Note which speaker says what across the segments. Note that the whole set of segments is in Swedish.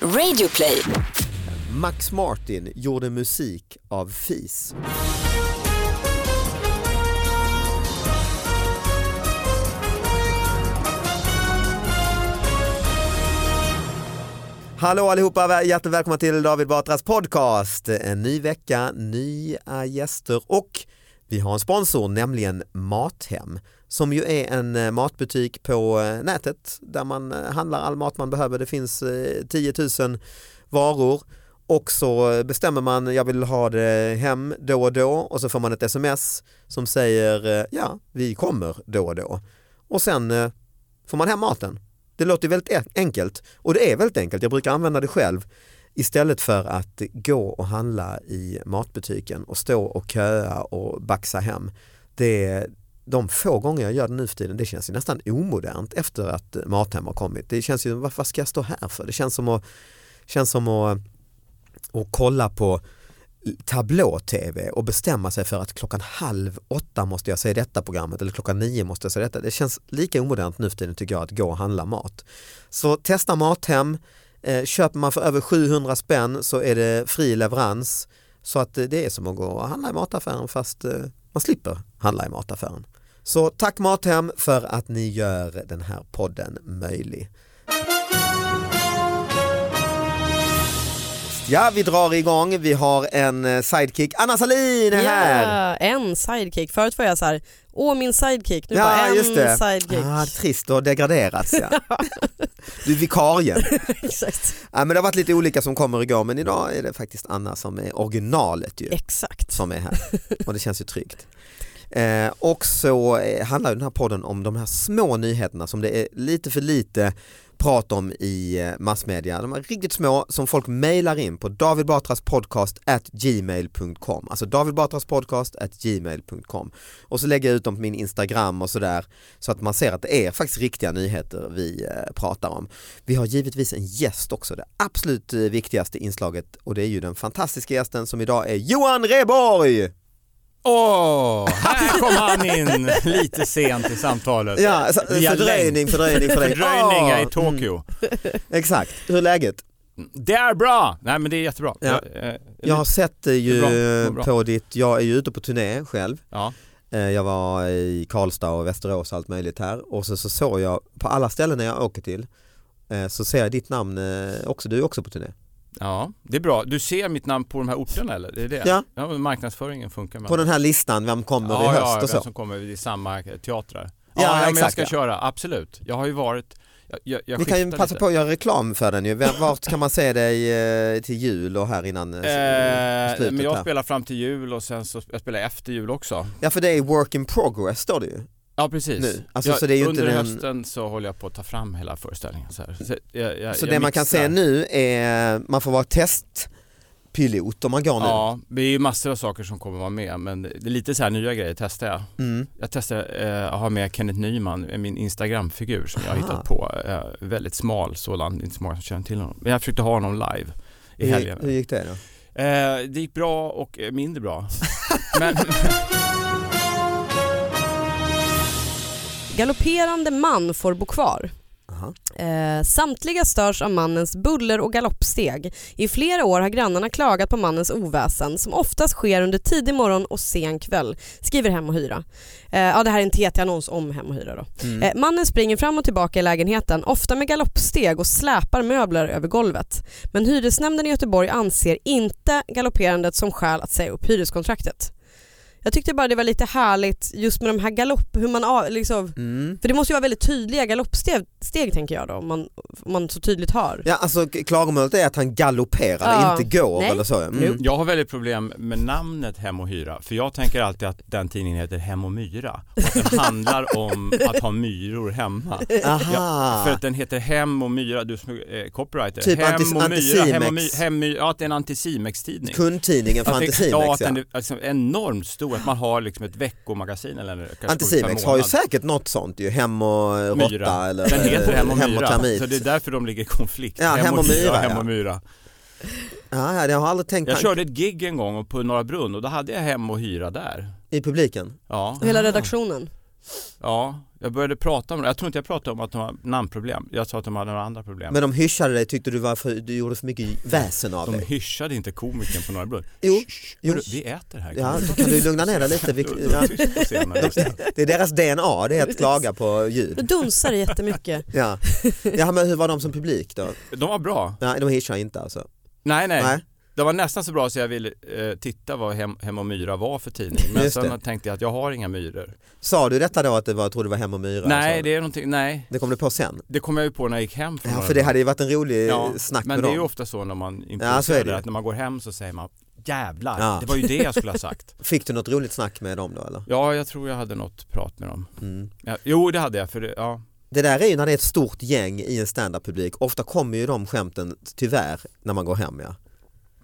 Speaker 1: Radioplay.
Speaker 2: Max Martin gjorde musik av fis. Hallå allihopa, hjärtligt välkomna till David Batras podcast. En ny vecka, nya gäster och vi har en sponsor, nämligen Mathem som ju är en eh, matbutik på eh, nätet där man eh, handlar all mat man behöver. Det finns eh, 10 000 varor och så eh, bestämmer man jag vill ha det hem då och då och så får man ett sms som säger eh, ja, vi kommer då och då. Och sen eh, får man hem maten. Det låter ju väldigt e- enkelt och det är väldigt enkelt. Jag brukar använda det själv istället för att gå och handla i matbutiken och stå och köa och baxa hem. Det, de få gånger jag gör det nu för tiden, det känns ju nästan omodernt efter att Mathem har kommit. Det känns ju, vad, vad ska jag stå här för? Det känns som att, känns som att, att kolla på tablå-tv och bestämma sig för att klockan halv åtta måste jag se detta programmet eller klockan nio måste jag se detta. Det känns lika omodernt nu för tiden tycker jag att gå och handla mat. Så testa Mathem, eh, köper man för över 700 spänn så är det fri leverans. Så att eh, det är som att gå och handla i mataffären fast eh, man slipper handla i mataffären. Så tack Mathem för att ni gör den här podden möjlig. Ja, vi drar igång. Vi har en eh, sidekick. Anna Salin är här!
Speaker 3: Ja, en sidekick. Förut var jag så här, åh min sidekick, nu bara en sidekick.
Speaker 2: Ah, trist, du har degraderats. Ja. Du är vikarien.
Speaker 3: Exakt.
Speaker 2: Ja, men det har varit lite olika som kommer igår men idag är det faktiskt Anna som är originalet ju,
Speaker 3: Exakt.
Speaker 2: som är här och det känns ju tryggt. Eh, och så eh, handlar ju den här podden om de här små nyheterna som det är lite för lite prat om i eh, massmedia. De är riktigt små som folk mejlar in på davidbatraspodcast@gmail.com. Alltså davidbatraspodcast@gmail.com. Och så lägger jag ut dem på min Instagram och sådär så att man ser att det är faktiskt riktiga nyheter vi eh, pratar om. Vi har givetvis en gäst också, det absolut eh, viktigaste inslaget och det är ju den fantastiska gästen som idag är Johan Reborg!
Speaker 4: Åh, här kom han in lite sent i samtalet.
Speaker 2: Ja, så,
Speaker 4: Via
Speaker 2: fördröjning,
Speaker 4: länk.
Speaker 2: fördröjning, fördröjning.
Speaker 4: Fördröjning
Speaker 2: Ah,
Speaker 4: i Tokyo.
Speaker 2: Exakt, hur är läget?
Speaker 4: Det är bra! Nej men det är jättebra.
Speaker 2: Ja.
Speaker 4: Jag, eh,
Speaker 2: Jag har sett dig ju
Speaker 4: Det är bra, det är bra.
Speaker 2: på ditt, jag är ju ute på turné själv.
Speaker 4: ja.
Speaker 2: Eh, Jag var i Karlstad och Västerås och allt möjligt här och så, så såg jag på alla ställen jag åker till eh, så ser jag ditt namn eh, också, du är också på turné.
Speaker 4: ja, det är bra. Du ser mitt namn på de här orterna eller? Det är det?
Speaker 2: Ja.
Speaker 4: men marknadsföringen funkar med
Speaker 2: På den här listan, vem kommer
Speaker 4: ja,
Speaker 2: i höst
Speaker 4: ja,
Speaker 2: och
Speaker 4: vem
Speaker 2: så.
Speaker 4: som kommer i samma teatrar.
Speaker 2: Ja,
Speaker 4: Ja, ja, men jag
Speaker 2: exakt,
Speaker 4: ska
Speaker 2: ja.
Speaker 4: köra, absolut. Jag har ju varit, jag, jag, jag
Speaker 2: Vi kan ju
Speaker 4: skiftar
Speaker 2: passa
Speaker 4: lite.
Speaker 2: på att göra reklam för den ju. Vem- Vart kan man se dig eh, till jul och här innan eh,
Speaker 4: Eh,
Speaker 2: slutet?
Speaker 4: men jag
Speaker 2: här?
Speaker 4: spelar fram till jul och sen så jag spelar efter jul också.
Speaker 2: Ja för det är work in progress står det ju.
Speaker 4: Ja precis.
Speaker 2: Nu. Alltså,
Speaker 4: jag,
Speaker 2: så det är ju inte
Speaker 4: under
Speaker 2: den-
Speaker 4: hösten så håller jag på att ta fram hela föreställningen. Så, här. så, jag, jag,
Speaker 2: Så
Speaker 4: jag
Speaker 2: det man kan
Speaker 4: mixar.
Speaker 2: se nu är, man får vara testpilot om man går nu.
Speaker 4: Ja, det är ju massor av saker som kommer vara med men det är lite så här nya grejer testar jag.
Speaker 2: Mm.
Speaker 4: Jag testar eh, att ha med Kenneth Nyman, eh, min Instagramfigur som jag har
Speaker 2: Aha.
Speaker 4: hittat på. Eh, väldigt smal sådan, det är inte så många som känner till honom. Men jag försökte ha honom live i
Speaker 2: Hur,
Speaker 4: helgen.
Speaker 2: hur gick det då?
Speaker 4: Eh, det gick bra och eh, mindre bra. men,
Speaker 3: Galopperande man får bo kvar.
Speaker 2: Aha.
Speaker 3: Eh, samtliga störs av mannens buller och galoppsteg. I flera år har grannarna klagat på mannens oväsen som oftast sker under tidig morgon och sen kväll, skriver Hem och Hyra. Eh, ja, det här är en TT-annons om Hem och Hyra då.
Speaker 2: Mm.
Speaker 3: Eh, mannen springer fram och tillbaka i lägenheten, ofta med galoppsteg och släpar möbler över golvet. Men hyresnämnden i Göteborg anser inte galopperandet som skäl att säga upp hyreskontraktet. Jag tyckte bara det var lite härligt just med de här galopp, hur man av, liksom,
Speaker 2: Mm.
Speaker 3: för det måste ju vara väldigt tydliga galoppsteg steg, tänker jag då, om man, om man så tydligt hör.
Speaker 2: Ja alltså k- klagomålet är att han galopperar,
Speaker 3: Ja.
Speaker 2: inte går
Speaker 3: Nej.
Speaker 2: eller så. Mm.
Speaker 4: jag har väldigt problem med namnet Hem och Hyra för jag tänker alltid att den tidningen heter Hem och Myra och att den handlar om att ha myror hemma. För
Speaker 2: Aha.
Speaker 4: att den heter Hem och Myra, du som är eh, copywriter.
Speaker 2: Typ
Speaker 4: hem
Speaker 2: antis-
Speaker 4: och Myra, hem och my,
Speaker 2: antisimex.
Speaker 4: hem, my, ja, att det är en antisimex-tidning.
Speaker 2: Kundtidningen för
Speaker 4: Att det- Ja,
Speaker 2: Anticimex.
Speaker 4: att
Speaker 2: Ja.
Speaker 4: den är liksom enormt stor, att man har liksom ett veckomagasin eller kanske
Speaker 2: Anticimex
Speaker 4: per
Speaker 2: har ju
Speaker 4: månad.
Speaker 2: säkert något sånt ju, hem och eh, råtta
Speaker 4: Myra.
Speaker 2: eller
Speaker 4: Den heter Hem och Myra,
Speaker 2: termit.
Speaker 4: så det är därför de ligger i konflikt.
Speaker 2: Ja, Hem och Myra,
Speaker 4: hem
Speaker 2: ja.
Speaker 4: och myra.
Speaker 2: ja, ja, jag har aldrig tänkt
Speaker 4: Jag
Speaker 2: tanken
Speaker 4: körde ett gig en gång på Norra Brunn och då hade jag Hem och Hyra där.
Speaker 2: i publiken.
Speaker 4: Ja.
Speaker 3: Och hela redaktionen.
Speaker 4: Ja, jag började prata om det. Jag tror inte jag pratade om att de har namnproblem. Jag sa att de hade några andra problem.
Speaker 2: Men de hyschade dig, tyckte du, var för, du gjorde för mycket väsen av
Speaker 4: de
Speaker 2: dig.
Speaker 4: hyschade inte komikern på Norra Brunn.
Speaker 2: Jo, jo.
Speaker 4: Hörru, Vi äter här.
Speaker 2: Ja, kan du lugna ner dig lite? Vi,
Speaker 4: Du- du
Speaker 2: ja.
Speaker 4: är tyst på scenen, just det.
Speaker 2: Det är deras DNA, det är att klaga på
Speaker 3: Du
Speaker 2: ljud.
Speaker 3: dunsar det jättemycket.
Speaker 2: Ja. ja, men hur var de som publik då?
Speaker 4: De var bra.
Speaker 2: Nej, de hitchar inte alltså.
Speaker 4: Nej, nej.
Speaker 2: Nej.
Speaker 4: Det var nästan så bra så jag ville eh, titta vad Hem, Hem och Myra var för tidning. Men
Speaker 2: Just
Speaker 4: sen
Speaker 2: det.
Speaker 4: tänkte jag att jag har inga myror.
Speaker 2: Sa du detta då att det var, trodde det var Hem och Myra?
Speaker 4: nej,
Speaker 2: alltså?
Speaker 4: det är någonting, nej.
Speaker 2: det kom du på sen?
Speaker 4: Det kom jag ju på när jag gick hem från
Speaker 2: Ja,
Speaker 4: Norra
Speaker 2: för det
Speaker 4: Brunn.
Speaker 2: hade ju varit en rolig
Speaker 4: Ja,
Speaker 2: snack
Speaker 4: Men
Speaker 2: med
Speaker 4: det är
Speaker 2: dem.
Speaker 4: ju ofta så när man
Speaker 2: Ja, så är
Speaker 4: improviserar
Speaker 2: det ju.
Speaker 4: att när man går hem så säger man jävlar,
Speaker 2: Ja.
Speaker 4: det var ju det jag skulle ha sagt.
Speaker 2: Fick du något roligt snack med dem då eller?
Speaker 4: Ja, jag tror jag hade något prat med dem.
Speaker 2: Mm.
Speaker 4: Ja, jo, det hade jag för det, ja.
Speaker 2: Det där är ju när det är ett stort gäng i en standup-publik, ofta kommer ju de skämten tyvärr när man går hem ja.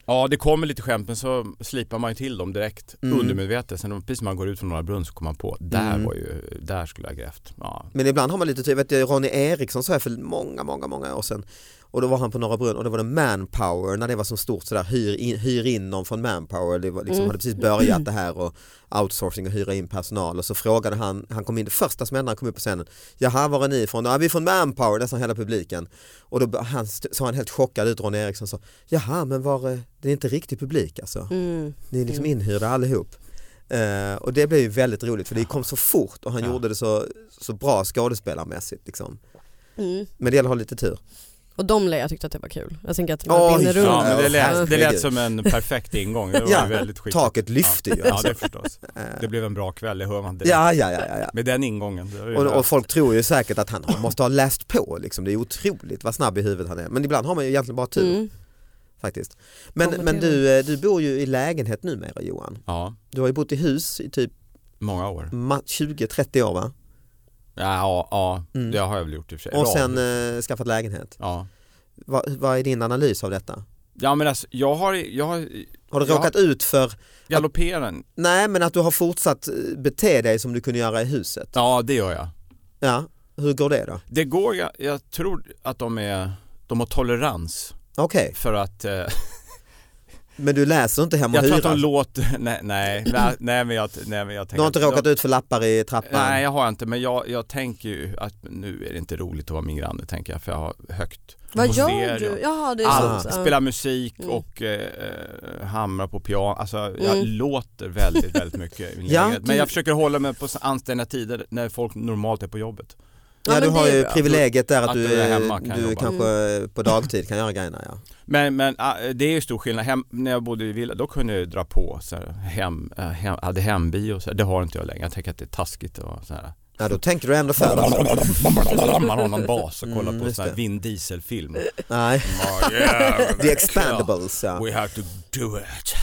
Speaker 4: Ja, det kommer lite skämt men så slipar man ju till dem direkt
Speaker 2: Mm.
Speaker 4: undermedvetet. Sen precis när man går ut från Norra Brunn så kommer man på, där
Speaker 2: Mm.
Speaker 4: var ju, där skulle jag ha grävt. Ja.
Speaker 2: Men ibland har man lite tur, jag vet jag, Ronny Eriksson sa jag för många, många, många år sedan och då var han på Norra Brunn och då var det manpower när det var som stort sådär hyr in, hyr in någon från manpower, det var, liksom,
Speaker 3: Mm.
Speaker 2: hade precis börjat det här och outsourcing och hyra in personal och så frågade han, han kom in, det första som hände när han kom upp på scenen, jaha var är ni ifrån? Ja vi är från manpower, nästan hela publiken och då bör- han, st- såg han helt chockad ut Ronny Eriksson sa, jaha men var, eh, det är inte riktig publik alltså?
Speaker 3: Mm.
Speaker 2: Ni är liksom
Speaker 3: Mm.
Speaker 2: inhyrda allihop. Eh, och det blev ju väldigt roligt för det kom så fort och han
Speaker 4: Ja.
Speaker 2: gjorde det så, så bra skådespelarmässigt. Liksom.
Speaker 3: Mm.
Speaker 2: Men det gäller att ha lite tur. Och
Speaker 3: Och de lär jag tyckte att det var kul. Jag tänker att
Speaker 2: Oj,
Speaker 3: man vinner runt. Mm.
Speaker 4: Ja, men det
Speaker 2: Herregud.
Speaker 4: lät, det lät som en perfekt ingång. Det var
Speaker 2: Ja,
Speaker 4: ja, väldigt skickligt.
Speaker 2: taket lyfte ju.
Speaker 4: Ja, ja
Speaker 2: Alltså.
Speaker 4: det förstås.
Speaker 2: Eh,
Speaker 4: Det blev en bra kväll, det hör man direkt.
Speaker 2: ja, ja, ja, ja, ja.
Speaker 4: Med den ingången. Det var ju
Speaker 2: Och,
Speaker 4: bra.
Speaker 2: och folk tror ju säkert att han har- måste ha läst på. Liksom. Det är otroligt vad snabb i huvudet han är. Men ibland har man ju egentligen bara
Speaker 4: Typ.
Speaker 2: tur
Speaker 3: Mm.
Speaker 2: faktiskt. Men,
Speaker 3: Ja, men
Speaker 2: men
Speaker 3: det-
Speaker 2: du, eh, du bor ju i lägenhet numera Johan.
Speaker 4: Ja,
Speaker 2: Du har ju bott i hus i typ
Speaker 4: många år.
Speaker 2: ma- 20-30 år va?
Speaker 4: Ja, ja, ja
Speaker 2: Mm.
Speaker 4: det har jag väl gjort i och för sig.
Speaker 2: Och
Speaker 4: Radhus.
Speaker 2: sen eh, skaffat lägenhet.
Speaker 4: Ja.
Speaker 2: Vad, vad är din analys av detta?
Speaker 4: ja, men alltså, jag har, jag har
Speaker 2: Har du
Speaker 4: Ja.
Speaker 2: råkat ut för
Speaker 4: galopperat.
Speaker 2: Nej men att du har fortsatt eh, bete dig som du kunde göra i huset.
Speaker 4: Ja, det gör jag.
Speaker 2: Ja, hur går det då?
Speaker 4: Det går, jag, jag tror att de är, de har tolerans
Speaker 2: Okej,
Speaker 4: för att eh,
Speaker 2: men du läser inte hem och
Speaker 4: jag tror att
Speaker 2: hyra?
Speaker 4: de låter, nej, nej, nej, nej men jag, nej men jag tänker
Speaker 2: Du har inte
Speaker 4: att-
Speaker 2: råkat ut för lappar i trappan?
Speaker 4: Nej jag har inte men jag, jag tänker ju att nu är det inte roligt att vara min granne tänker jag för jag har högt
Speaker 3: Vad
Speaker 4: på
Speaker 3: gör
Speaker 4: stereo.
Speaker 3: du? Jaha, det är
Speaker 2: Allt.
Speaker 4: Allt,
Speaker 3: så.
Speaker 2: sant.
Speaker 4: spela musik
Speaker 3: Mm.
Speaker 4: och eh, eh, hamra på piano. Alltså jag
Speaker 3: Mm.
Speaker 4: låter väldigt, väldigt mycket i min
Speaker 2: Ja,
Speaker 4: lägenhet. Men
Speaker 2: du-
Speaker 4: jag försöker hålla mig på anständiga tider när folk normalt är på jobbet.
Speaker 2: Ja,
Speaker 3: Ja,
Speaker 2: du
Speaker 3: men
Speaker 2: har
Speaker 3: det är
Speaker 2: ju
Speaker 3: bra.
Speaker 2: privilegiet där att,
Speaker 4: Att
Speaker 2: du,
Speaker 4: du är hemma kan
Speaker 2: du
Speaker 4: jobba. Mm.
Speaker 2: kanske på dagtid kan göra grejerna. Ja.
Speaker 4: Men, men ah, det är ju stor skillnad. Hem, när jag bodde i villa då kunde jag ju dra på så här, hem, eh, hem, hade hembio och så här. Det har inte jag längre. Jag tänker att det är taskigt och så här.
Speaker 2: Ja, då tänker du ändå för alltså.
Speaker 4: Man har någon bas och kollar
Speaker 2: Mm,
Speaker 4: på
Speaker 2: just
Speaker 4: sån här
Speaker 2: det.
Speaker 4: Vin Diesel-film.
Speaker 2: Nej,
Speaker 4: Oh, yeah.
Speaker 2: the expandables ja.
Speaker 4: We have to do it.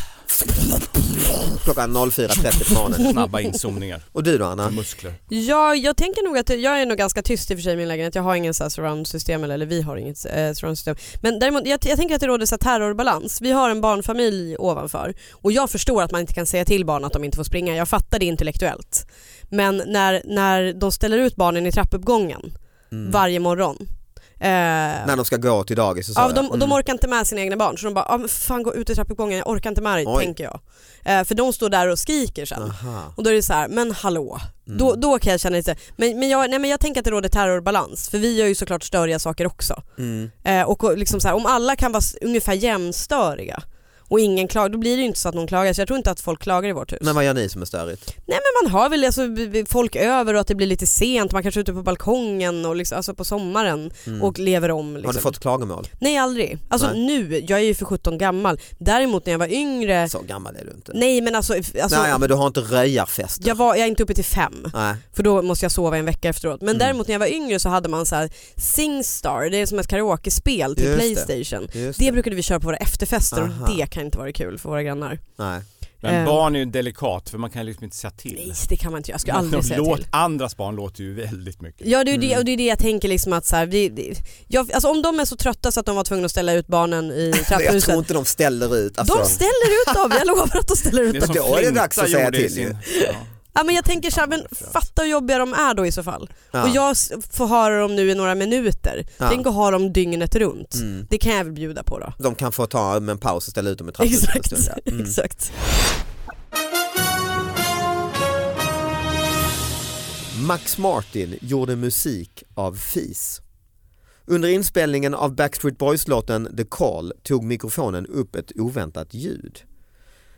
Speaker 2: Klockan 04.30 på morgonen.
Speaker 4: Snabba inzoomningar
Speaker 2: Och du då Anna?
Speaker 4: och
Speaker 3: Mm.
Speaker 4: muskler.
Speaker 3: Ja, jag tänker nog att jag är nog ganska tyst i och för sig i min lägenhet. Jag har ingen så här surround-system, eller, eller vi har inget eh, surround-system. Men däremot, jag, jag tänker att det råder så här terrorbalans. Vi har en barnfamilj ovanför och jag förstår att man inte kan säga till barn att de inte får springa. Jag fattar det intellektuellt. Men när, när de ställer ut barnen i trappuppgången
Speaker 2: Mm.
Speaker 3: varje morgon. eh,
Speaker 2: När de ska gå till dagis och så.
Speaker 3: Ja, de, de
Speaker 2: Mm.
Speaker 3: orkar inte med sina egna barn så de bara, ah, men fan gå ut i trappuppgången, jag orkar inte med dig,
Speaker 2: Oj.
Speaker 3: tänker jag. Eh, för de står där och skriker sen.
Speaker 2: Aha.
Speaker 3: Och då är det så här, men hallå,
Speaker 2: Mm.
Speaker 3: då, då kan jag känna lite, men, men, jag, nej, men jag tänker att det råder terrorbalans för vi gör ju såklart störiga saker också.
Speaker 2: Mm.
Speaker 3: Eh, och och liksom så här, om alla kan vara s- ungefär jämnstöriga och ingen klagar, då blir det ju inte så att någon klagar. Så jag tror inte att folk klagar i vårt hus.
Speaker 2: Men vad gör ni som är störigt?
Speaker 3: Man har väl alltså, b- b- folk över och att det blir lite sent, man kanske är ute på balkongen och liksom, alltså på sommaren
Speaker 2: Mm.
Speaker 3: och lever om. Liksom.
Speaker 2: Har du fått klagomål?
Speaker 3: Nej aldrig. Alltså
Speaker 2: Nej.
Speaker 3: nu, jag är ju för 17 gammal. Däremot när jag var yngre,
Speaker 2: Så gammal är du inte.
Speaker 3: nej men alltså, f- alltså
Speaker 2: Nej, ja, men du har inte röjarfester?
Speaker 3: jag, var, jag är inte uppe till fem
Speaker 2: Nej.
Speaker 3: för då måste jag sova en vecka efteråt. Men
Speaker 2: Mm.
Speaker 3: däremot när jag var yngre så hade man så här Singstar, det är som ett karaokespel till
Speaker 2: Just det.
Speaker 3: Playstation. Det.
Speaker 2: Just
Speaker 3: brukade vi köra på våra efterfester
Speaker 2: Aha.
Speaker 3: och det kan inte vara kul för våra grannar.
Speaker 2: Nej.
Speaker 4: Men
Speaker 3: Eh.
Speaker 4: barn är ju delikat för man kan liksom inte säga till.
Speaker 3: Nej det kan man inte göra, jag skulle
Speaker 4: Men
Speaker 3: aldrig
Speaker 4: de
Speaker 3: säga
Speaker 4: låt-
Speaker 3: till.
Speaker 4: Andras barn låter ju väldigt mycket.
Speaker 3: Ja det är, ju det,
Speaker 2: Mm.
Speaker 3: och det är det jag tänker liksom att så här, vi, det, jag, alltså om de är så trötta så att de var tvungna att ställa ut barnen i
Speaker 2: Men jag tror
Speaker 3: trapphuset.
Speaker 2: inte de ställer ut. Alltså.
Speaker 3: De ställer ut dem, jag lovar att de ställer ut
Speaker 4: Det
Speaker 3: dem.
Speaker 4: är som
Speaker 2: då är det
Speaker 4: Flinta
Speaker 2: dags att säga
Speaker 4: gjorde i
Speaker 2: till
Speaker 4: ja.
Speaker 3: Ja, men jag tänker så här, men
Speaker 4: Fan, vad fränt.
Speaker 3: fatta hur jobbiga de är då i så fall.
Speaker 2: ja.
Speaker 3: Och jag s- får höra dem nu i några minuter.
Speaker 2: Ja.
Speaker 3: Tänk att ha dem dygnet runt.
Speaker 2: mm.
Speaker 3: Det kan jag väl bjuda på då.
Speaker 2: De kan få ta en paus och ställa ut dem i trapphuset. en
Speaker 3: Exakt,
Speaker 2: stund, ja. Mm.
Speaker 3: exakt.
Speaker 2: Max Martin gjorde musik av fis. Under inspelningen av Backstreet Boys-låten The Call tog mikrofonen upp ett oväntat ljud.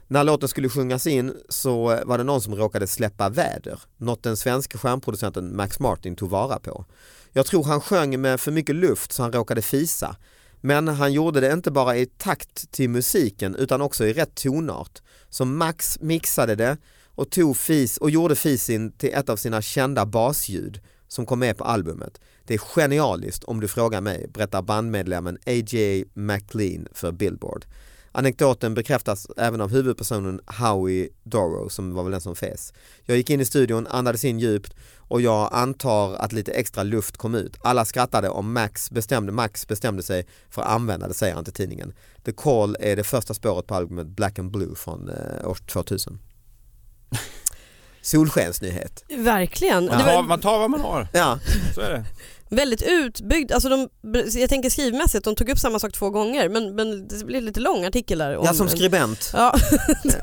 Speaker 2: När låten skulle sjungas in så var det någon som råkade släppa väder, något den svenska stjärnproducenten Max Martin tog vara på. Jag tror han sjöng med för mycket luft så han råkade fisa. Men han gjorde det inte bara i takt till musiken utan också i rätt tonart. Så Max mixade det och tog fis och gjorde fisin till ett av sina kända basljud som kom med på albumet. Det är genialiskt om du frågar mig, berättar bandmedlemmen A.J. McLean för Billboard. Anekdoten bekräftas även av huvudpersonen Howie Doro som var väl den som fes. Jag gick in i studion, andades in djupt och jag antar att lite extra luft kom ut. Alla skrattade och Max bestämde, Max bestämde sig för att använda det säger han till tidningen. The Call är det första spåret på albumet Black and Blue från eh, år 2000. Solskensnyhet.
Speaker 3: Verkligen.
Speaker 4: Man
Speaker 3: Det
Speaker 4: tar,
Speaker 3: var
Speaker 4: man tar vad man har,
Speaker 2: Ja,
Speaker 4: så är det.
Speaker 3: väldigt utbyggd, alltså de, jag tänker skrivmässigt, de tog upp samma sak två gånger men, men det blev lite lång artikel där. om-
Speaker 2: jag som skribent.
Speaker 3: Ja.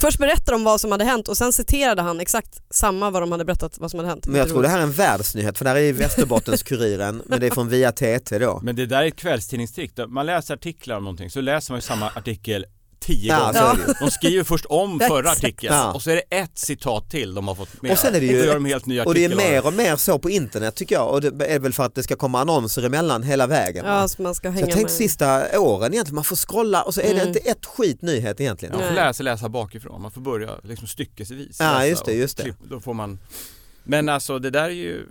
Speaker 3: Först berättar de vad som hade hänt och sen citerade han exakt samma vad de hade berättat vad som hade hänt.
Speaker 2: Men jag tror det här är en världsnyhet för det här är Västerbottens-Kuriren men det är från via TT då.
Speaker 4: Men det där är ett kvällstidningstrick. Där Man läser artiklar om någonting så läser man ju samma artikel tio
Speaker 2: Ja,
Speaker 4: gånger.
Speaker 2: så är det ju.
Speaker 4: De skriver först om
Speaker 3: Ja,
Speaker 4: förra
Speaker 3: exakt.
Speaker 4: artikeln
Speaker 2: Ja.
Speaker 4: och så är det ett citat till de har fått med.
Speaker 2: Och sen är det ju-
Speaker 4: då gör de en helt ny artikel.
Speaker 2: Och det är
Speaker 4: av
Speaker 2: mer och mer så på internet tycker jag och det är väl för att det ska komma annonser emellan hela vägen. va?
Speaker 3: Ja, så man ska
Speaker 2: så
Speaker 3: hänga
Speaker 2: jag tänkte
Speaker 3: med.
Speaker 2: sista åren egentligen, man får scrolla och så är det
Speaker 3: Mm.
Speaker 2: inte ett skit nyhet egentligen.
Speaker 4: Man får
Speaker 3: Nej.
Speaker 4: läsa, läsa bakifrån, man får börja liksom styckesvis.
Speaker 2: Ja,
Speaker 4: läsa
Speaker 2: just det,
Speaker 4: och
Speaker 2: just det.
Speaker 4: klipp- Då får man... Men alltså det där är ju...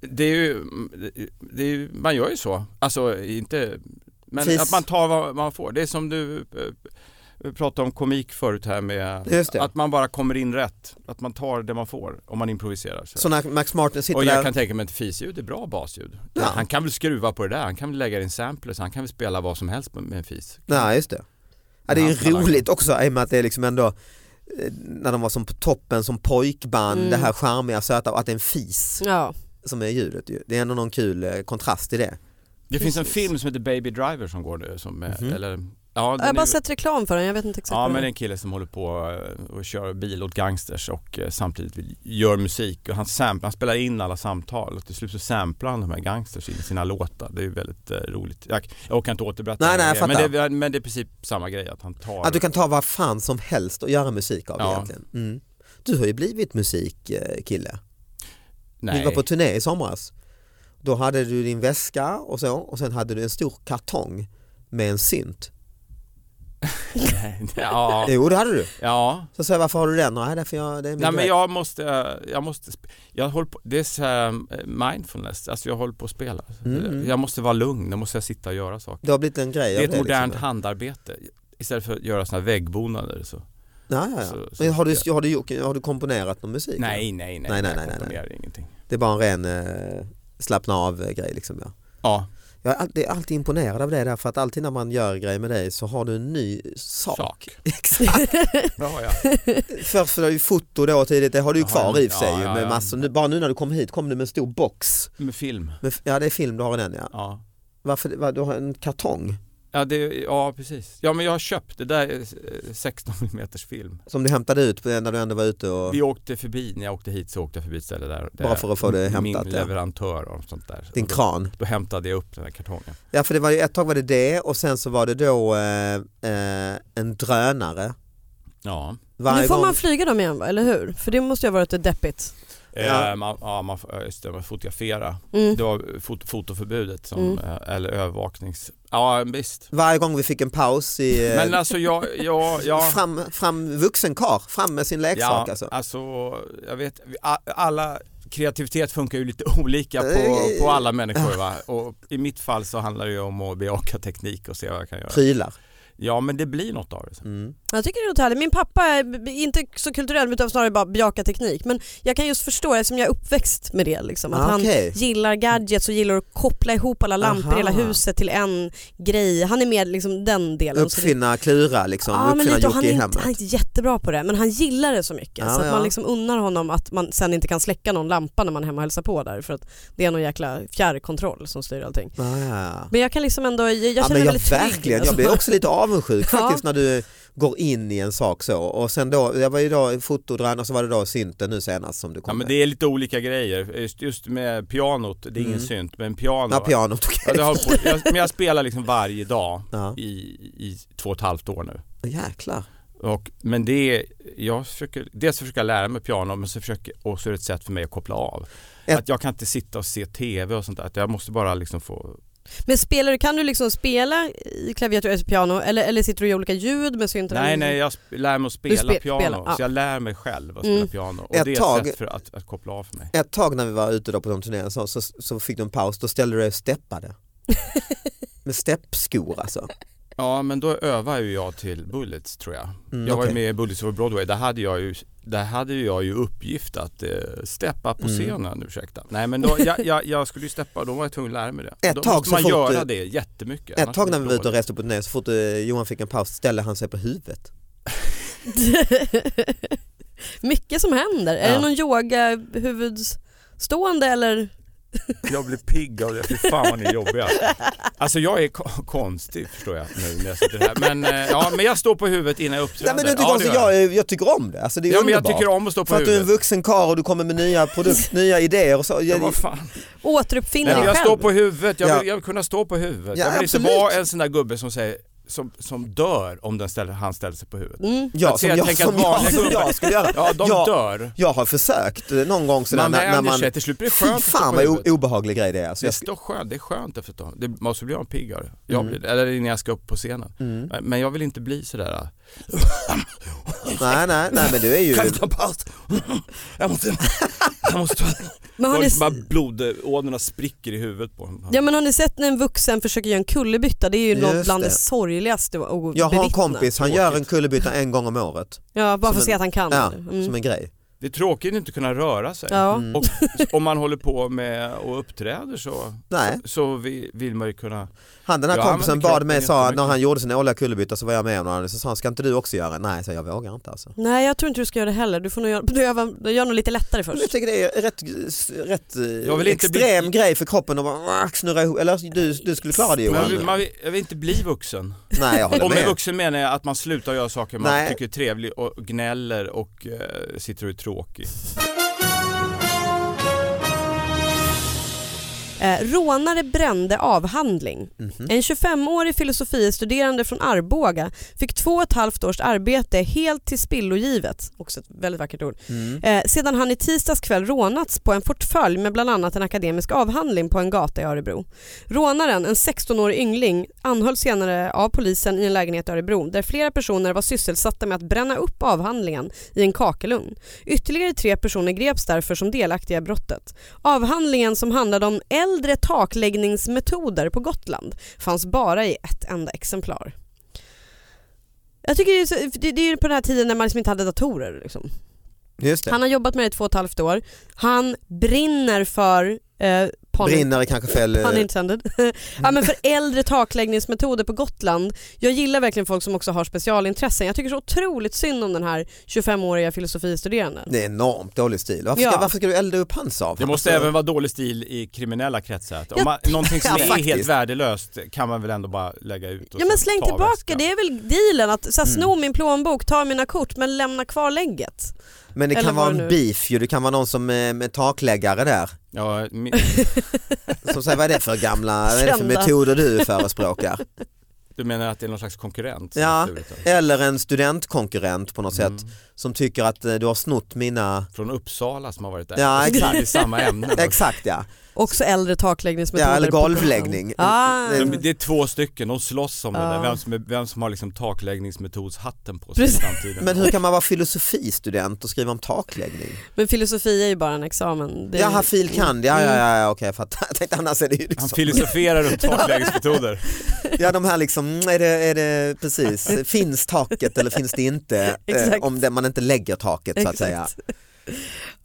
Speaker 4: Det är ju... Det är, ju- man gör ju så. Alltså inte... Men
Speaker 2: Precis.
Speaker 4: att man tar vad man får. Det är som du eh, pratade om komik förut här med
Speaker 2: Just det.
Speaker 4: att man bara kommer in rätt. Att man tar det man får om man improviserar. Så.
Speaker 2: Så när Max Martin sitter
Speaker 4: och jag
Speaker 2: där,
Speaker 4: kan tänka mig att fisljud är bra basljud.
Speaker 2: Ja.
Speaker 4: Han kan väl skruva på det där, han kan väl lägga in samplers, han kan väl spela vad som helst med en fis.
Speaker 2: nej just det. Ja, det är ju
Speaker 4: Ja, talang.
Speaker 2: roligt också i och med att det är liksom ändå eh, när de var som på toppen som pojkband,
Speaker 3: Mm.
Speaker 2: det här charmiga söta och att det är en fis
Speaker 3: Ja,
Speaker 2: som är ljudet. ju. Det är ändå någon kul eh, kontrast i det.
Speaker 4: Det finns en
Speaker 3: Precis.
Speaker 4: film som heter Baby Driver som går nu som, eh,
Speaker 2: Mhm.
Speaker 4: eller ja,
Speaker 3: jag har
Speaker 4: den
Speaker 3: bara
Speaker 4: är,
Speaker 3: sett reklam för den, jag vet inte exakt
Speaker 4: ja
Speaker 3: vad
Speaker 4: men
Speaker 3: den
Speaker 4: det är
Speaker 3: är.
Speaker 4: en kille som håller på eh, och kör bil åt gangsters och eh, samtidigt vill- gör musik och han, sampl- han spelar in alla samtal och till slut så samplar han de här gangsters i sina låtar. Det är ju väldigt eh, roligt. Jag, jag kan inte återberätta
Speaker 2: Nej,
Speaker 4: hela
Speaker 2: nej, jag
Speaker 4: grejen, men,
Speaker 2: fattar.
Speaker 4: det, är- men det är i princip samma grej att han tar
Speaker 2: Att du kan ta vad fan som helst och göra musik av det
Speaker 4: Ja.
Speaker 2: egentligen. Mm. Du har ju blivit musikkille.
Speaker 4: nej.
Speaker 2: Ni var på turné i somras. Då hade du din väska och så och sen hade du en stor kartong med en synt.
Speaker 4: ja,
Speaker 2: Jo det hade du.
Speaker 4: ja.
Speaker 2: Så sa jag varför har du den? Nej, därför jag, det är min
Speaker 4: Nej men
Speaker 2: grej.
Speaker 4: jag måste, eh, jag måste, sp- jag håller på, det är så här eh, mindfulness, alltså jag håller på att spela.
Speaker 2: Mm, mm.
Speaker 4: Jag måste vara lugn, då måste jag sitta och göra saker.
Speaker 2: Det har blivit en grej
Speaker 4: Det är
Speaker 2: av
Speaker 4: ett modernt
Speaker 2: liksom.
Speaker 4: handarbete. Istället för att göra såna här väggbonader så.
Speaker 2: Ja, ja, ja.
Speaker 4: så- så-
Speaker 2: Men har du, har, du, gjort- har du komponerat någon musik?
Speaker 4: Nej, nej, nej.
Speaker 2: Nej, nej,
Speaker 4: jag
Speaker 2: nej, nej,
Speaker 4: komponerar ingenting.
Speaker 2: Det är bara en ren eh, slappna av eh, grej liksom ja.
Speaker 4: Ja,
Speaker 2: Jag är alltid, alltid imponerad av det där för att alltid när man gör grejer med dig så har du en ny sak.
Speaker 4: sak.
Speaker 2: Exakt.
Speaker 4: Bra ja.
Speaker 2: Först var det ju foto då tidigt, det har du ju
Speaker 4: Jag
Speaker 2: kvar
Speaker 4: har en-
Speaker 2: i och för sig.
Speaker 4: ja,
Speaker 2: ju,
Speaker 4: ja,
Speaker 2: med
Speaker 4: ja.
Speaker 2: Massor, nu, bara nu när du kom hit kom du med en stor box.
Speaker 4: Med film.
Speaker 2: Med, f- ja det är film, du har den ja.
Speaker 4: Ja.
Speaker 2: Varför, vad, du har en kartong
Speaker 4: Ja, det, ja, precis. Ja, men jag har köpt, det där är eh, 16 mm film.
Speaker 2: som du hämtade ut på- när du ändå var ute och...
Speaker 4: Vi åkte förbi, när jag åkte hit så åkte jag förbi ett ställe där. där
Speaker 2: Bara för att få det hämtat, ja.
Speaker 4: Min leverantör och sånt där.
Speaker 2: Din
Speaker 4: Och då-
Speaker 2: kran.
Speaker 4: Då hämtade jag upp den här kartongen.
Speaker 2: Ja för det var ju, ett tag var det det och sen så var det då eh, eh, en drönare.
Speaker 4: Ja.
Speaker 2: Varje
Speaker 3: Nu får
Speaker 2: gång-
Speaker 3: man flyga dem igen va, eller hur? För det måste ju ha varit lite deppigt.
Speaker 2: Ja.
Speaker 4: Eh, man, ja, man, får- ja, just det, man fotografera.
Speaker 3: Mm.
Speaker 4: Det var fot, fotoförbudet som,
Speaker 3: Mm.
Speaker 4: eh, eller övervaknings... Ja, visst.
Speaker 2: Varje gång vi fick en paus i... eh,
Speaker 4: Men alltså jag... jag, jag
Speaker 2: Fram, fram vuxen karl, fram med sin leksak alltså.
Speaker 4: alltså, jag vet, vi- a- alla kreativitet funkar ju lite olika på,
Speaker 2: Eh,
Speaker 4: på alla människor va? Och i mitt fall så handlar det ju om att bejaka teknik och se vad jag kan göra.
Speaker 2: Prylar.
Speaker 4: Ja men det blir något av det. sen.
Speaker 2: Mm.
Speaker 3: Jag tycker det låter härligt. Min pappa är b- b- inte så kulturell utan snarare bara bejaka teknik. Men jag kan just förstå eftersom jag är uppväxt med det. Liksom, att
Speaker 2: Ah,
Speaker 3: han
Speaker 2: okej.
Speaker 3: gillar gadgets och gillar att koppla ihop alla lampor i hela
Speaker 2: Aha.
Speaker 3: huset till en grej. Han är med liksom den delen. så det-
Speaker 2: Uppfinna Klura liksom,
Speaker 3: Ja, men
Speaker 2: uppfinna
Speaker 3: lite, och han,
Speaker 2: Jocke
Speaker 3: är
Speaker 2: i
Speaker 3: inte,
Speaker 2: hemmet.
Speaker 3: han är inte jättebra på det men han gillar det så mycket
Speaker 2: Ja,
Speaker 3: så att
Speaker 2: ja.
Speaker 3: man liksom unnar honom att man sen inte kan släcka någon lampa när man är hemma och hälsar på där för att det är någon jäkla fjärrkontroll som styr allting.
Speaker 2: Ah, ja.
Speaker 3: Men jag kan liksom ändå, jag, jag
Speaker 2: ja,
Speaker 3: känner
Speaker 2: men
Speaker 3: mig
Speaker 2: jag
Speaker 3: väldigt trygg.
Speaker 2: verkligen, jag
Speaker 3: alltså.
Speaker 2: blir också lite avundsjuk
Speaker 3: Ja.
Speaker 2: faktiskt när du går in i en sak så och sen då, jag var ju då fotodrön och så var det då synten nu senast som du kom
Speaker 4: Ja, men
Speaker 2: med.
Speaker 4: det är lite olika grejer. Just, just med pianot, det är ingen
Speaker 2: Mm.
Speaker 4: synt, men piano.
Speaker 2: Ja, pianot, okej.
Speaker 4: Ja, det har hållit på, jag, men jag spelar liksom varje dag
Speaker 2: Ja.
Speaker 4: i, i två och ett halvt år nu.
Speaker 2: Jäklar.
Speaker 4: Och, men det är, jag försöker, dels försöker jag lära mig piano men så försöker, och så är det ett sätt för mig att koppla av.
Speaker 2: Ett-
Speaker 4: Att jag kan inte sitta och se TV och sånt där, att jag måste bara liksom få...
Speaker 3: Men spelar du, kan du liksom spela i klaviatur eller piano eller, eller sitter du i olika ljud med synten?
Speaker 4: Nej, nej, jag sp- lär mig att spela
Speaker 3: spe-
Speaker 4: piano.
Speaker 3: spelar, ja.
Speaker 4: Så jag lär mig själv att
Speaker 3: Mm.
Speaker 4: spela piano. Och
Speaker 2: Ett
Speaker 4: det är ett
Speaker 2: tag-
Speaker 4: sätt för att, att koppla av för mig.
Speaker 2: Ett tag när vi var ute då på de turnéerna så, så, så fick du en paus, då ställde du dig och steppade. med steppskor alltså.
Speaker 4: Ja, men då övar ju jag till Bullets tror jag.
Speaker 2: Mm,
Speaker 4: Jag var ju
Speaker 2: okej.
Speaker 4: med i Bullets over Broadway, där hade jag ju, där hade ju jag ju uppgift att eh, steppa på
Speaker 2: Mm.
Speaker 4: scenen, ursäkta. Nej men då, jag, jag, jag skulle ju steppa och då var jag tvungen att lära mig det.
Speaker 2: Ett
Speaker 4: då
Speaker 2: tag
Speaker 4: måste
Speaker 2: så
Speaker 4: man
Speaker 2: fort
Speaker 4: göra
Speaker 2: du-
Speaker 4: det jättemycket.
Speaker 2: Ett
Speaker 4: annars
Speaker 2: tag
Speaker 4: blir
Speaker 2: när
Speaker 4: det
Speaker 2: vi var ute och
Speaker 4: dåligt.
Speaker 2: reste på turné så fort eh, Johan fick en paus ställde han sig på huvudet.
Speaker 3: Mycket som händer. Är
Speaker 2: Ja.
Speaker 3: det någon yoga huvudstående eller?
Speaker 4: Jag blir pigg av det, fy fan vad ni är jobbiga. Alltså jag är ko- konstig förstår jag nu när jag sitter här. Men, eh, ja, men jag står på huvudet innan jag
Speaker 2: Nej,
Speaker 4: uppträder.
Speaker 2: men du tycker
Speaker 4: ja,
Speaker 2: om,
Speaker 4: det
Speaker 2: så
Speaker 4: gör
Speaker 2: jag, jag tycker om det, alltså, det är
Speaker 4: Ja men jag
Speaker 2: underbart.
Speaker 4: tycker om att stå på
Speaker 2: För att du är en
Speaker 4: huvudet.
Speaker 2: vuxen karl och du kommer med nya produkter, nya idéer och så.
Speaker 4: Ja,
Speaker 2: Jag,
Speaker 4: vad fan.
Speaker 3: Återuppfinner
Speaker 4: Nej,
Speaker 3: dig
Speaker 4: men jag
Speaker 3: själv?
Speaker 4: står på huvudet, jag
Speaker 2: Ja.
Speaker 4: vill, jag vill kunna stå på huvudet.
Speaker 2: Ja,
Speaker 4: jag vill
Speaker 2: absolut.
Speaker 4: inte vara en sån där gubbe som säger som, som dör om den ställer, han ställer sig på huvudet.
Speaker 3: Mm.
Speaker 2: ja,
Speaker 4: Jag
Speaker 2: som,
Speaker 4: ser- jag
Speaker 2: jag,
Speaker 4: tänker
Speaker 2: som,
Speaker 4: att
Speaker 2: jag,
Speaker 4: vanliga
Speaker 2: som
Speaker 4: gubbar-
Speaker 2: jag skulle göra.
Speaker 4: Ja, de
Speaker 2: Ja.
Speaker 4: dör.
Speaker 2: Jag har försökt eh, någon gång sådär
Speaker 4: Man
Speaker 2: när, när
Speaker 4: vänjer
Speaker 2: man...
Speaker 4: sig, till slut blir det skönt
Speaker 2: Fy
Speaker 4: att stå
Speaker 2: fan
Speaker 4: på
Speaker 2: vad o-
Speaker 4: huvudet.
Speaker 2: obehaglig grej det är. Alltså,
Speaker 4: Det är,
Speaker 2: jag,
Speaker 4: så skönt, det är skönt efter ett tag. Det måste bli en piggare. Jag
Speaker 2: Mm.
Speaker 4: blir, det. eller när jag ska upp på scenen.
Speaker 2: mm.
Speaker 4: Men jag vill inte bli sådär...
Speaker 2: Nej, nej, nej men du är ju...
Speaker 4: ta paus? Jag måste... Jag måste ta...
Speaker 3: Men har ni,
Speaker 4: Bara blodådrorna spricker i huvudet på honom.
Speaker 3: ja, men har ni sett när en vuxen försöker göra en kullerbytta? Det är ju något
Speaker 2: Just
Speaker 3: bland det,
Speaker 2: det.
Speaker 3: sorgligaste att bevittna.
Speaker 2: Jag har en kompis, han gör en
Speaker 4: Tråkigt.
Speaker 2: kullerbytta en gång om året.
Speaker 3: Ja, bara
Speaker 2: som
Speaker 3: för att se
Speaker 2: en-
Speaker 3: att han kan.
Speaker 2: Ja,
Speaker 3: Mm.
Speaker 2: som en grej.
Speaker 4: Det är tråkigt att inte kunna röra sig.
Speaker 3: Ja.
Speaker 2: Mm.
Speaker 4: Och om man håller på med och uppträder så,
Speaker 2: Nej,
Speaker 4: så vi- vill man ju kunna...
Speaker 2: han den här
Speaker 4: Ja, han
Speaker 2: kompisen
Speaker 4: använder
Speaker 2: bad mig,
Speaker 4: kroppen
Speaker 2: sa,
Speaker 4: jättemycket.
Speaker 2: när han gjorde sin årliga kullerbytta så var jag med honom, så sa han ska inte du också göra? Nej, så jag vågar inte alltså.
Speaker 3: Nej jag tror inte du ska göra det heller. Du får nog göra, gör, gör nog lite lättare
Speaker 2: Men
Speaker 3: först.
Speaker 2: Jag tycker det är rätt, rätt eh,
Speaker 4: Jag vill inte bli-
Speaker 2: extrem grej för kroppen att bara ah, snurra ihop, eller du, du skulle klara det
Speaker 4: Men jag,
Speaker 2: Johan.
Speaker 4: vill, man vill, jag vill inte bli vuxen.
Speaker 2: Nej jag håller
Speaker 4: Och med
Speaker 2: med.
Speaker 4: vuxen menar jag att man slutar göra saker man
Speaker 2: Nej.
Speaker 4: tycker är trevligt och gnäller och eh, sitter och är tråkig.
Speaker 3: Eh, rånare brände avhandling.
Speaker 2: Mhm.
Speaker 3: En 25-årig filosofiestuderande från Arboga fick två och ett halvt års arbete helt tillspillogivet, också ett väldigt vackert ord,
Speaker 2: Mm.
Speaker 3: eh, sedan han i tisdags kväll rånats på en portfölj med bland annat en akademisk avhandling på en gata i Örebro. Rånaren, en 16-årig yngling, anhölls senare av polisen i en lägenhet i Örebro där flera personer var sysselsatta med att bränna upp avhandlingen i en kakelugn. Ytterligare tre personer greps därför som delaktiga i brottet. Avhandlingen som handlade om äldre takläggningsmetoder på Gotland fanns bara i ett enda exemplar. Jag tycker det är, så, det, det är ju på den här tiden när man liksom inte hade datorer. Liksom.
Speaker 2: Just det.
Speaker 3: Han har jobbat med det i två och ett halvt år. Han brinner för eh, pon-
Speaker 2: Brinner är kanske fel. eh,
Speaker 3: pun intended. ja, men för äldre takläggningsmetoder på Gotland. Jag gillar verkligen folk som också har specialintressen. Jag tycker så otroligt synd om den här 25-åriga filosofistuderanden.
Speaker 2: Det är enormt dålig stil. Varför ska,
Speaker 3: Ja.
Speaker 2: varför ska du elda upp hans av?
Speaker 4: Det måste även vara dålig stil i kriminella kretsar. Att Om man, någonting som
Speaker 2: Ja,
Speaker 4: är
Speaker 2: faktiskt.
Speaker 4: helt värdelöst kan man väl ändå bara lägga ut och
Speaker 3: Ja men
Speaker 4: sen
Speaker 3: släng
Speaker 4: ta
Speaker 3: tillbaka,
Speaker 4: väskan.
Speaker 3: det är väl dealen att så här,
Speaker 2: Mm.
Speaker 3: sno min plånbok, ta mina kort men lämna kvar lägget.
Speaker 2: Men det
Speaker 3: Eller
Speaker 2: kan vara
Speaker 3: vad det
Speaker 2: en
Speaker 3: nu-
Speaker 2: beef ju, det kan vara någon som eh, med takläggare där.
Speaker 4: Ja, min,
Speaker 2: Som säger vad är det för gamla, vad är det för
Speaker 3: Kända.
Speaker 2: metoder du förespråkar?
Speaker 4: du menar att det är någon slags konkurrent? som
Speaker 2: Ja.
Speaker 4: har stulit den?
Speaker 2: Eller en studentkonkurrent på något
Speaker 4: Mm.
Speaker 2: sätt som tycker att eh, du har snott mina,
Speaker 4: Från Uppsala som har varit där. Alltså,
Speaker 2: Ja, exakt.
Speaker 4: Det är samma ämne. alltså.
Speaker 2: exakt ja,
Speaker 3: Också äldre takläggningsmetoder.
Speaker 2: Ja, eller
Speaker 3: på Gotland.
Speaker 2: golvläggning.
Speaker 3: Ah.
Speaker 2: Mm.
Speaker 4: Men Det är två stycken, de slåss om det
Speaker 3: Ja.
Speaker 4: där. Vem som, är, vem som har liksom takläggningsmetodshatten på sig
Speaker 3: Precis.
Speaker 4: i framtiden.
Speaker 2: men hur kan man vara filosofistudent och skriva om takläggning?
Speaker 3: Men filosofi är Mm. ju bara en examen. Det-
Speaker 2: Jaha, fil. kand, ja ja ja, ja okej jag fattar. Jag tänkte annars är det ju
Speaker 4: Han
Speaker 2: liksom,
Speaker 4: filosoferar runt takläggningsmetoder.
Speaker 2: ja de här liksom, mm, är det, är det precis, finns taket eller finns det inte? Eh,
Speaker 3: Exakt.
Speaker 2: Om det, man inte lägger taket så att
Speaker 3: Exakt.
Speaker 2: säga.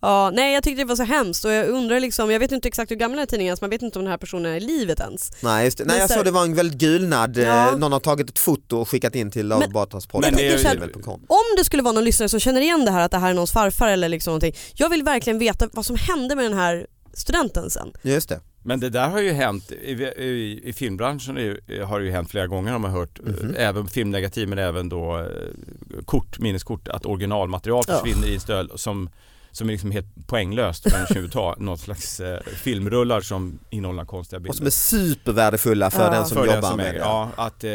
Speaker 3: Ja, nej jag tyckte det var så hemskt och jag undrar liksom, jag vet inte exakt hur gammal den här tidningen är så man vet inte om den här personen är i livet ens.
Speaker 2: Nej, just det. Nej
Speaker 3: Men
Speaker 2: jag
Speaker 3: så-
Speaker 2: såg det var en väldigt gulnad, eh,
Speaker 3: Ja.
Speaker 2: någon har tagit ett foto och skickat in till
Speaker 3: Men-
Speaker 4: Men det är ju-
Speaker 2: avbartransporten.com.
Speaker 3: Om det skulle vara någon lyssnare som känner igen det här att det här är någons farfar eller liksom någonting. Jag vill verkligen veta vad som hände med den här studenten sen.
Speaker 2: Just det.
Speaker 4: Men det där har ju hänt, i, i, i filmbranschen är ju, eh, har det ju hänt flera gånger har man hört, eh,
Speaker 2: Mhm.
Speaker 4: även filmnegativ men även då eh, kort, minneskort, att originalmaterial
Speaker 2: Ja.
Speaker 4: försvinner i en stöld som, som är liksom helt poänglöst för en tjuv ta, något slags eh, filmrullar som innehåller konstiga bilder.
Speaker 2: Och som är supervärdefulla för
Speaker 3: Ja.
Speaker 2: den som
Speaker 4: för
Speaker 2: jobbar
Speaker 4: den som
Speaker 2: med
Speaker 4: äger,
Speaker 2: det.
Speaker 4: ja, att, eh,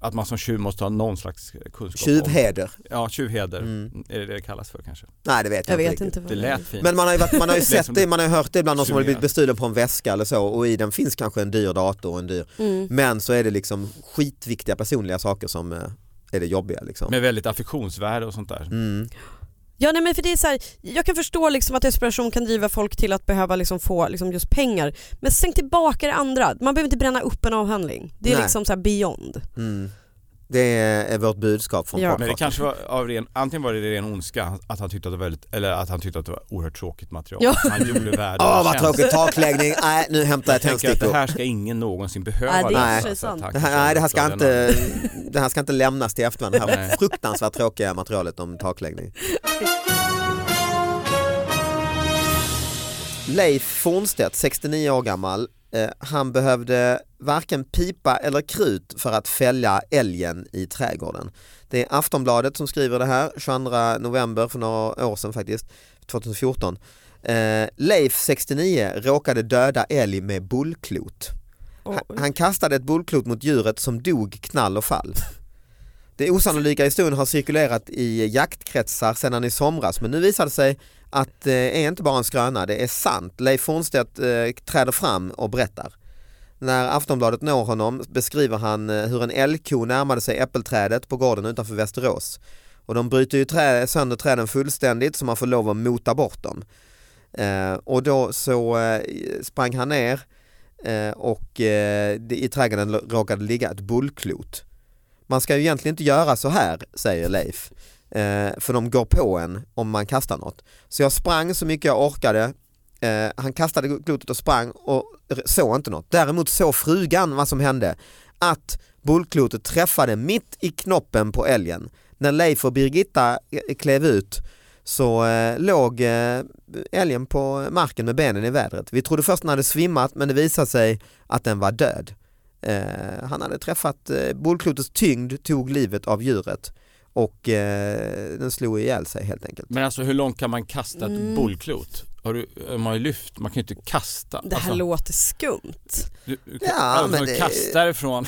Speaker 4: att man som tjuv måste ha någon slags kunskap om.
Speaker 2: Tjuvheder.
Speaker 4: Ja, tjuvheder
Speaker 2: Mm.
Speaker 4: är det det det kallas för kanske.
Speaker 2: Nej det vet jag,
Speaker 3: Jag vet
Speaker 2: riktigt.
Speaker 3: inte vad
Speaker 4: Det lät fint.
Speaker 2: Men man har ju, varit, man har ju
Speaker 4: Det är
Speaker 2: sett
Speaker 4: som
Speaker 2: det, man har ju hört det bland de som har
Speaker 4: summerar.
Speaker 2: blivit bestulen på en väska eller så och i den finns kanske en dyr dator och en dyr
Speaker 3: Mm.
Speaker 2: Men så är det liksom skitviktiga personliga saker som eh, är det jobbiga liksom.
Speaker 4: Med väldigt affektionsvärde och sånt där.
Speaker 2: Mm.
Speaker 3: Ja nej, men för det är så här, jag kan förstå liksom att desperation kan driva folk till att behöva liksom få liksom just pengar. Men sänk tillbaka det andra. Man behöver inte bränna upp en avhandling. Det är
Speaker 2: Nej.
Speaker 3: liksom så här beyond.
Speaker 2: Mm. Det är är vårt budskap från
Speaker 3: Ja.
Speaker 2: podcasten.
Speaker 4: Men det kanske var av ren, antingen var det ren ondska, att han tyckte att det var, väldigt, eller att han tyckte att det var oerhört tråkigt material.
Speaker 3: Ja.
Speaker 4: Han gjorde världen
Speaker 2: Åh vad
Speaker 4: en tjänst.
Speaker 2: tråkigt, takläggning, nej nu hämtar jag
Speaker 4: Jag tänker att det
Speaker 2: tändstickor.
Speaker 4: här ska ingen någonsin behöva
Speaker 3: Nej, det är
Speaker 4: läsa,
Speaker 2: i och
Speaker 3: för sig
Speaker 4: så att
Speaker 3: sant.
Speaker 4: han
Speaker 2: Det
Speaker 4: kanske
Speaker 2: här, nej, det här ska
Speaker 4: har gjort av den
Speaker 2: inte, det här ska inte lämnas till efterhand, det här
Speaker 4: Nej.
Speaker 2: fruktansvärt tråkiga materialet om takläggning. Leif Fornstedt, 69 år gammal, eh, han behövde varken pipa eller krut för att fälla älgen i trädgården. Det är Aftonbladet som skriver det här, 22 november för några år sedan faktiskt, 2014. Eh, Leif, 69, råkade döda älg med bullklot. Han, han kastade ett bollklot mot djuret som dog knall och fall. Det osannolika i historien har cirkulerat i jaktkretsar sedan i somras men nu visar det sig att eh, det är inte bara en skröna, det är sant. Leif Fornstedt eh, träder fram och berättar. När Aftonbladet når honom beskriver han eh, hur en älgko närmade sig äppelträdet på gården utanför Västerås. Och de bryter ju trä, sönder träden fullständigt så man får lov att mota bort dem. Eh, och då så eh, sprang han ner Eh, och eh, det, i trädgården lo- råkade ligga ett bullklot. Man ska ju egentligen inte göra så här, säger Leif, eh, för de går på en om man kastar något. Så jag sprang så mycket jag orkade, eh, han kastade klotet och sprang och r- såg inte något. Däremot såg frugan vad som hände, att bullklotet träffade mitt i knoppen på älgen. När Leif och Birgitta eh, klev ut så eh, låg eh, älgen på marken med benen i vädret. Vi trodde först den hade svimmat men det visade sig att den var död. Eh, han hade träffat eh, bollklotets tyngd, tog livet av djuret och eh, den slog ihjäl sig helt enkelt.
Speaker 4: Men alltså hur långt kan man kasta ett
Speaker 3: Mm.
Speaker 4: bollklot? Har du, man har ju lyft, man kan ju inte kasta.
Speaker 3: Det här
Speaker 4: alltså,
Speaker 3: låter skumt.
Speaker 4: du, du,
Speaker 2: Ja,
Speaker 4: alltså,
Speaker 2: men
Speaker 4: man
Speaker 2: det-
Speaker 4: kastar ifrån.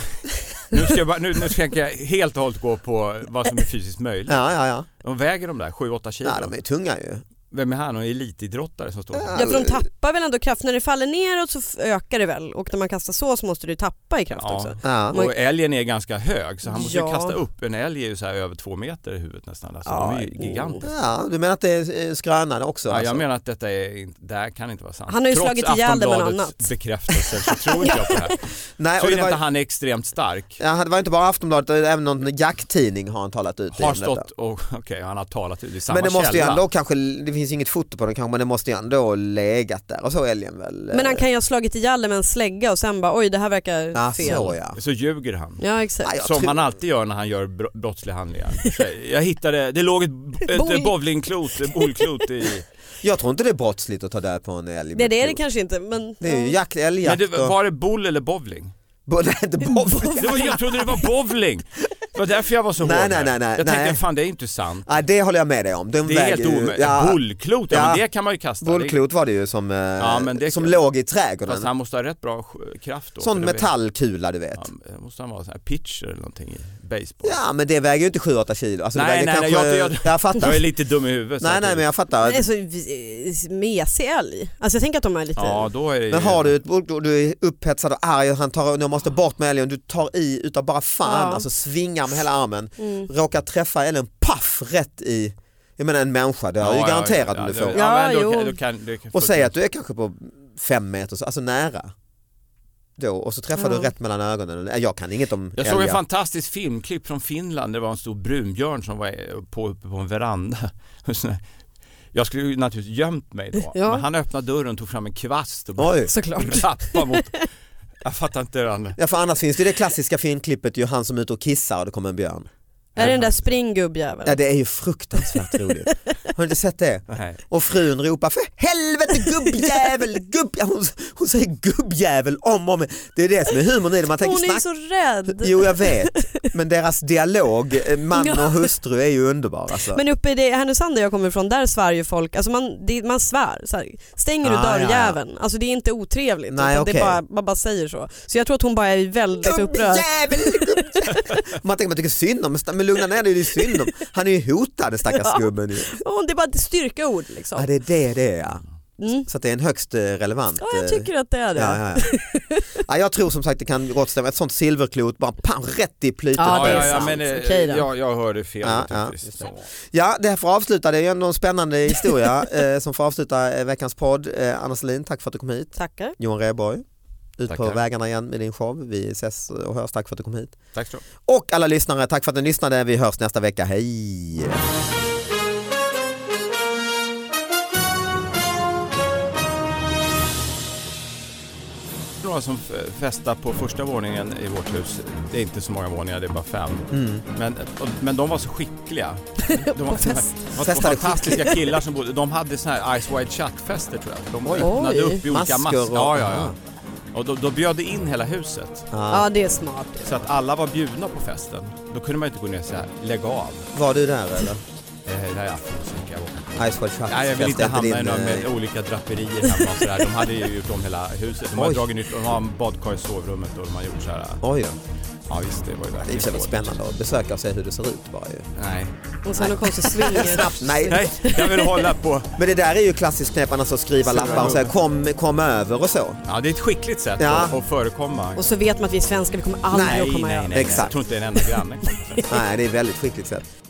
Speaker 4: nu, ska jag bara, nu, nu ska jag helt och hållet gå på vad som är fysiskt möjligt.
Speaker 2: Ja, ja, ja.
Speaker 4: De väger de där 7-8 kilo.
Speaker 2: ja de är tunga ju.
Speaker 4: Vem är han? Någon elitidrottare som står
Speaker 2: Ja,
Speaker 3: Ja, för de tappar väl ändå kraft. När det faller neråt så f- ökar det väl och när man kastar så så måste du tappa i kraft
Speaker 4: Ja.
Speaker 3: också.
Speaker 2: Ja.
Speaker 4: Och älgen är ganska hög så han måste
Speaker 3: Ja.
Speaker 4: ju kasta upp. En älg är ju så här över två meter i huvudet nästan. Alltså,
Speaker 3: Ja,
Speaker 4: de är ju gigantiska.
Speaker 2: Ja, du menar att det är eh, skrönan också?
Speaker 4: Ja,
Speaker 2: oh. alltså?
Speaker 4: jag menar att detta är inte, det här kan inte vara sant.
Speaker 3: Han har ju
Speaker 4: Trots
Speaker 3: slagit ihjäl det med något
Speaker 4: Aftonbladets
Speaker 3: annat.
Speaker 4: bekräftelse så tror inte jag på det här.
Speaker 2: Nej,
Speaker 4: Så
Speaker 2: och
Speaker 4: är
Speaker 2: det
Speaker 4: det inte
Speaker 2: var,
Speaker 4: han är extremt stark.
Speaker 2: ja, det var inte bara Aftonbladet, även någon jakttidning har han talat ut i
Speaker 4: Har
Speaker 2: om detta.
Speaker 4: stått och, okej han har talat ut i samma
Speaker 2: Men det måste ju
Speaker 4: källa.
Speaker 2: ändå kanske, det finns ju inget foto på den kanske, men det måste ju ändå legat där och så älgen väl. eh,
Speaker 3: Men han kan ju ha slagit ihjäl det med en slägga och sen bara oj det här verkar
Speaker 2: ja,
Speaker 3: fel.
Speaker 2: så ja.
Speaker 4: Så ljuger han.
Speaker 3: Ja exakt.
Speaker 2: Nej, jag
Speaker 4: Som
Speaker 2: tror-
Speaker 4: han alltid gör när han gör br- brottsliga handlingar. Så Jag hittade, det låg ett,
Speaker 3: Boll.
Speaker 4: ett bowlingklot, ett bollklot i...
Speaker 2: Jag tror inte det är brottsligt att ta död på en älg.
Speaker 3: Nej
Speaker 2: med
Speaker 3: det är det
Speaker 2: klot.
Speaker 3: kanske inte men...
Speaker 2: Det är ju
Speaker 3: ja.
Speaker 2: jakt,
Speaker 4: Men
Speaker 2: älgjakt
Speaker 4: det,
Speaker 2: och...
Speaker 4: var det boll eller bowling?
Speaker 2: Bo- nej, inte bob-
Speaker 4: Det var, jag trodde det var bowling. Det var därför jag var så
Speaker 2: Nej,
Speaker 4: hård
Speaker 2: nej,
Speaker 4: här.
Speaker 2: nej, nej,
Speaker 4: Jag tänkte
Speaker 2: nej.
Speaker 4: fan det är inte sant.
Speaker 2: Nej, det håller jag med dig om. Den
Speaker 4: Det är helt
Speaker 2: väger ju-
Speaker 4: omöjligt.
Speaker 2: ja,
Speaker 4: Bollklot, ja, men
Speaker 2: Ja.
Speaker 4: det kan man ju kasta.
Speaker 2: Bollklot var det ju som, eh,
Speaker 4: men det-
Speaker 2: som låg i
Speaker 4: Det- Fast
Speaker 2: trädgården.
Speaker 4: han måste ha rätt bra sk- kraft då.
Speaker 2: Sån
Speaker 4: för det
Speaker 2: metallkula du vet.
Speaker 4: väger- Ja, men måste han vara sån här pitcher eller någonting i baseball.
Speaker 2: Ja men det väger ju inte 7-8 kilo. Alltså, det
Speaker 4: Nej,
Speaker 2: väger
Speaker 4: nej, nej,
Speaker 2: kanske...
Speaker 4: jag- jag-
Speaker 2: jag fattar.
Speaker 4: Jag är lite dum i huvudet.
Speaker 2: Nej nej men jag fattar.
Speaker 3: Nej, så eh, mesig älg. Alltså jag tänker att de är lite...
Speaker 4: Ja, då är det ju...
Speaker 2: Men har du ett bollklot, du är upphetsad och arg och han tar, jag måste bort med älgen, du tar i utav bara fan,
Speaker 3: Ja.
Speaker 2: alltså svingar med hela armen,
Speaker 3: Mm.
Speaker 2: råkar träffa älgen, paff, rätt i, jag menar en människa, det har ju garanterat om du får.
Speaker 4: Ja, ja,
Speaker 3: Ja,
Speaker 4: men då, kan-
Speaker 3: jo.
Speaker 4: då kan, då kan,
Speaker 2: Och säg att du är kanske på fem meter, så- alltså nära. Då, och så träffar
Speaker 3: Ja.
Speaker 2: du rätt mellan ögonen. Nej, Jag kan inget om
Speaker 4: Jag såg en
Speaker 2: älgar.
Speaker 4: fantastisk filmklipp från Finland. Det var en stor brunbjörn som var eh, på, uppe på en veranda. Och så- Jag skulle ju naturligtvis gömt mig då.
Speaker 3: Ja.
Speaker 4: Men han öppnade dörren, tog fram en kvast och
Speaker 2: Oj.
Speaker 3: Såklart.
Speaker 4: rappade mot... Jag fattar inte hur han...
Speaker 2: Ja, för annars finns det det klassiska filmklippet, ju han som är ute och kissar och det kommer en björn.
Speaker 3: Är det den där
Speaker 4: faktiskt.
Speaker 3: springgubbjäveln?
Speaker 2: Ja, det är ju fruktansvärt roligt. Har du inte sett det?
Speaker 4: Nej.
Speaker 2: Och frun ropar för helvete gubbjävel, gubb... Hon, hon säger gubbjävel om och om. Det är det som är humorn i det. Man tänker
Speaker 3: Hon är
Speaker 2: snack...
Speaker 3: ju så rädd.
Speaker 2: Jo jag vet, men deras dialog, eh, man
Speaker 3: Ja.
Speaker 2: och hustru är ju underbar alltså.
Speaker 3: Men uppe i det, Härnösand där jag kommer ifrån, där svär ju folk, alltså man, det, man svär. Så här, stänger du
Speaker 2: Ah, ja, ja.
Speaker 3: dörrjäveln? Alltså det är inte otrevligt,
Speaker 2: Nej,
Speaker 3: utan det
Speaker 2: okej.
Speaker 3: är bara, man bara säger så. Så jag tror att hon bara är väldigt upprörd.
Speaker 2: Gubbjävel, gubbjävel. Man tänker man tycker synd om, men sta- men lugna ner dig, det är ju synd om. Han är ju hotad stackars
Speaker 3: Ja.
Speaker 2: gubben. ju.
Speaker 3: Oh, det är bara ett styrkeord liksom.
Speaker 2: Ja det är det det är ja.
Speaker 3: Mm.
Speaker 2: Så att det är en högst eh, relevant.
Speaker 3: Ja, jag
Speaker 2: eh,
Speaker 3: tycker att det är det.
Speaker 2: Ja, ja, ja. ja, jag tror som sagt det kan gott stämma, ett sånt silverklot bara pang rätt i plytet.
Speaker 3: Ja, det är
Speaker 4: ja,
Speaker 3: sant.
Speaker 4: men, eh,
Speaker 3: Okej då.
Speaker 4: jag, jag hörde fel
Speaker 2: Ja, ja.
Speaker 4: naturligtvis.
Speaker 2: Ja, det här får avsluta, det är ju ändå en spännande historia eh, som får avsluta eh, veckans podd. Eh, Anna Selin, tack för att du kom hit.
Speaker 3: Tackar.
Speaker 2: Johan Rheborg, ut på
Speaker 4: Tackar.
Speaker 2: vägarna igen med din show. Vi ses och hörs, tack för att du kom hit.
Speaker 4: Tack så mycket.
Speaker 2: Och alla lyssnare, tack för att ni lyssnade. Vi hörs nästa vecka, hej!
Speaker 4: Några som f- festar på första våningen i vårt hus. Det är inte så många våningar, det är bara fem.
Speaker 2: Mm.
Speaker 4: Men, och, men de var så skickliga. De var,
Speaker 3: På fest.
Speaker 4: de var, de var
Speaker 2: Festade
Speaker 4: fantastiska killar som bodde. De hade så här Ice Wide Shut-fester tror jag. De
Speaker 2: Oj.
Speaker 4: öppnade
Speaker 3: Oj.
Speaker 4: upp i
Speaker 2: Masker
Speaker 4: olika masker.
Speaker 2: och-
Speaker 4: ja, ja, ja. Och då, då bjöd det in hela huset.
Speaker 2: Ja.
Speaker 3: Ja, det är smart.
Speaker 4: Så att alla var bjudna på festen. Då kunde man ju inte gå ner och säga lägg av.
Speaker 2: Var du där eller?
Speaker 4: Eh, Det här är afrosynk, jag vågar inte.
Speaker 2: Ice Wide Shut.
Speaker 4: Nej, jag vill inte
Speaker 2: Fest,
Speaker 4: hamna i några
Speaker 2: eh,
Speaker 4: med olika draperier hemma och sådär. De hade ju gjort om hela huset. De
Speaker 2: Oj.
Speaker 4: hade dragit nytt, de har en badkar i sovrummet och de har gjort så här.
Speaker 2: Oj, ja.
Speaker 4: Ja visst, det var ju
Speaker 2: det är i och
Speaker 4: verkligen
Speaker 2: för sig väldigt
Speaker 4: dåligt.
Speaker 2: spännande att besöka och se hur det ser ut bara ju.
Speaker 4: Nej.
Speaker 3: Och sen någon konstig swinger.
Speaker 2: Snabbt, nej.
Speaker 4: Nej, jag vill hålla på.
Speaker 2: Men det där är ju klassiskt knep annars att skriva lappar och säga kom, kom över och så.
Speaker 4: Ja, det är ett skickligt sätt
Speaker 2: Ja.
Speaker 4: att, att förekomma.
Speaker 3: Och så vet man att vi är svenskar, vi kommer aldrig
Speaker 2: Nej,
Speaker 3: att komma
Speaker 4: nej,
Speaker 3: över.
Speaker 4: nej, nej.
Speaker 2: Exakt.
Speaker 4: Jag tror inte en enda granne kommer.
Speaker 2: Nej, det är väldigt skickligt sätt.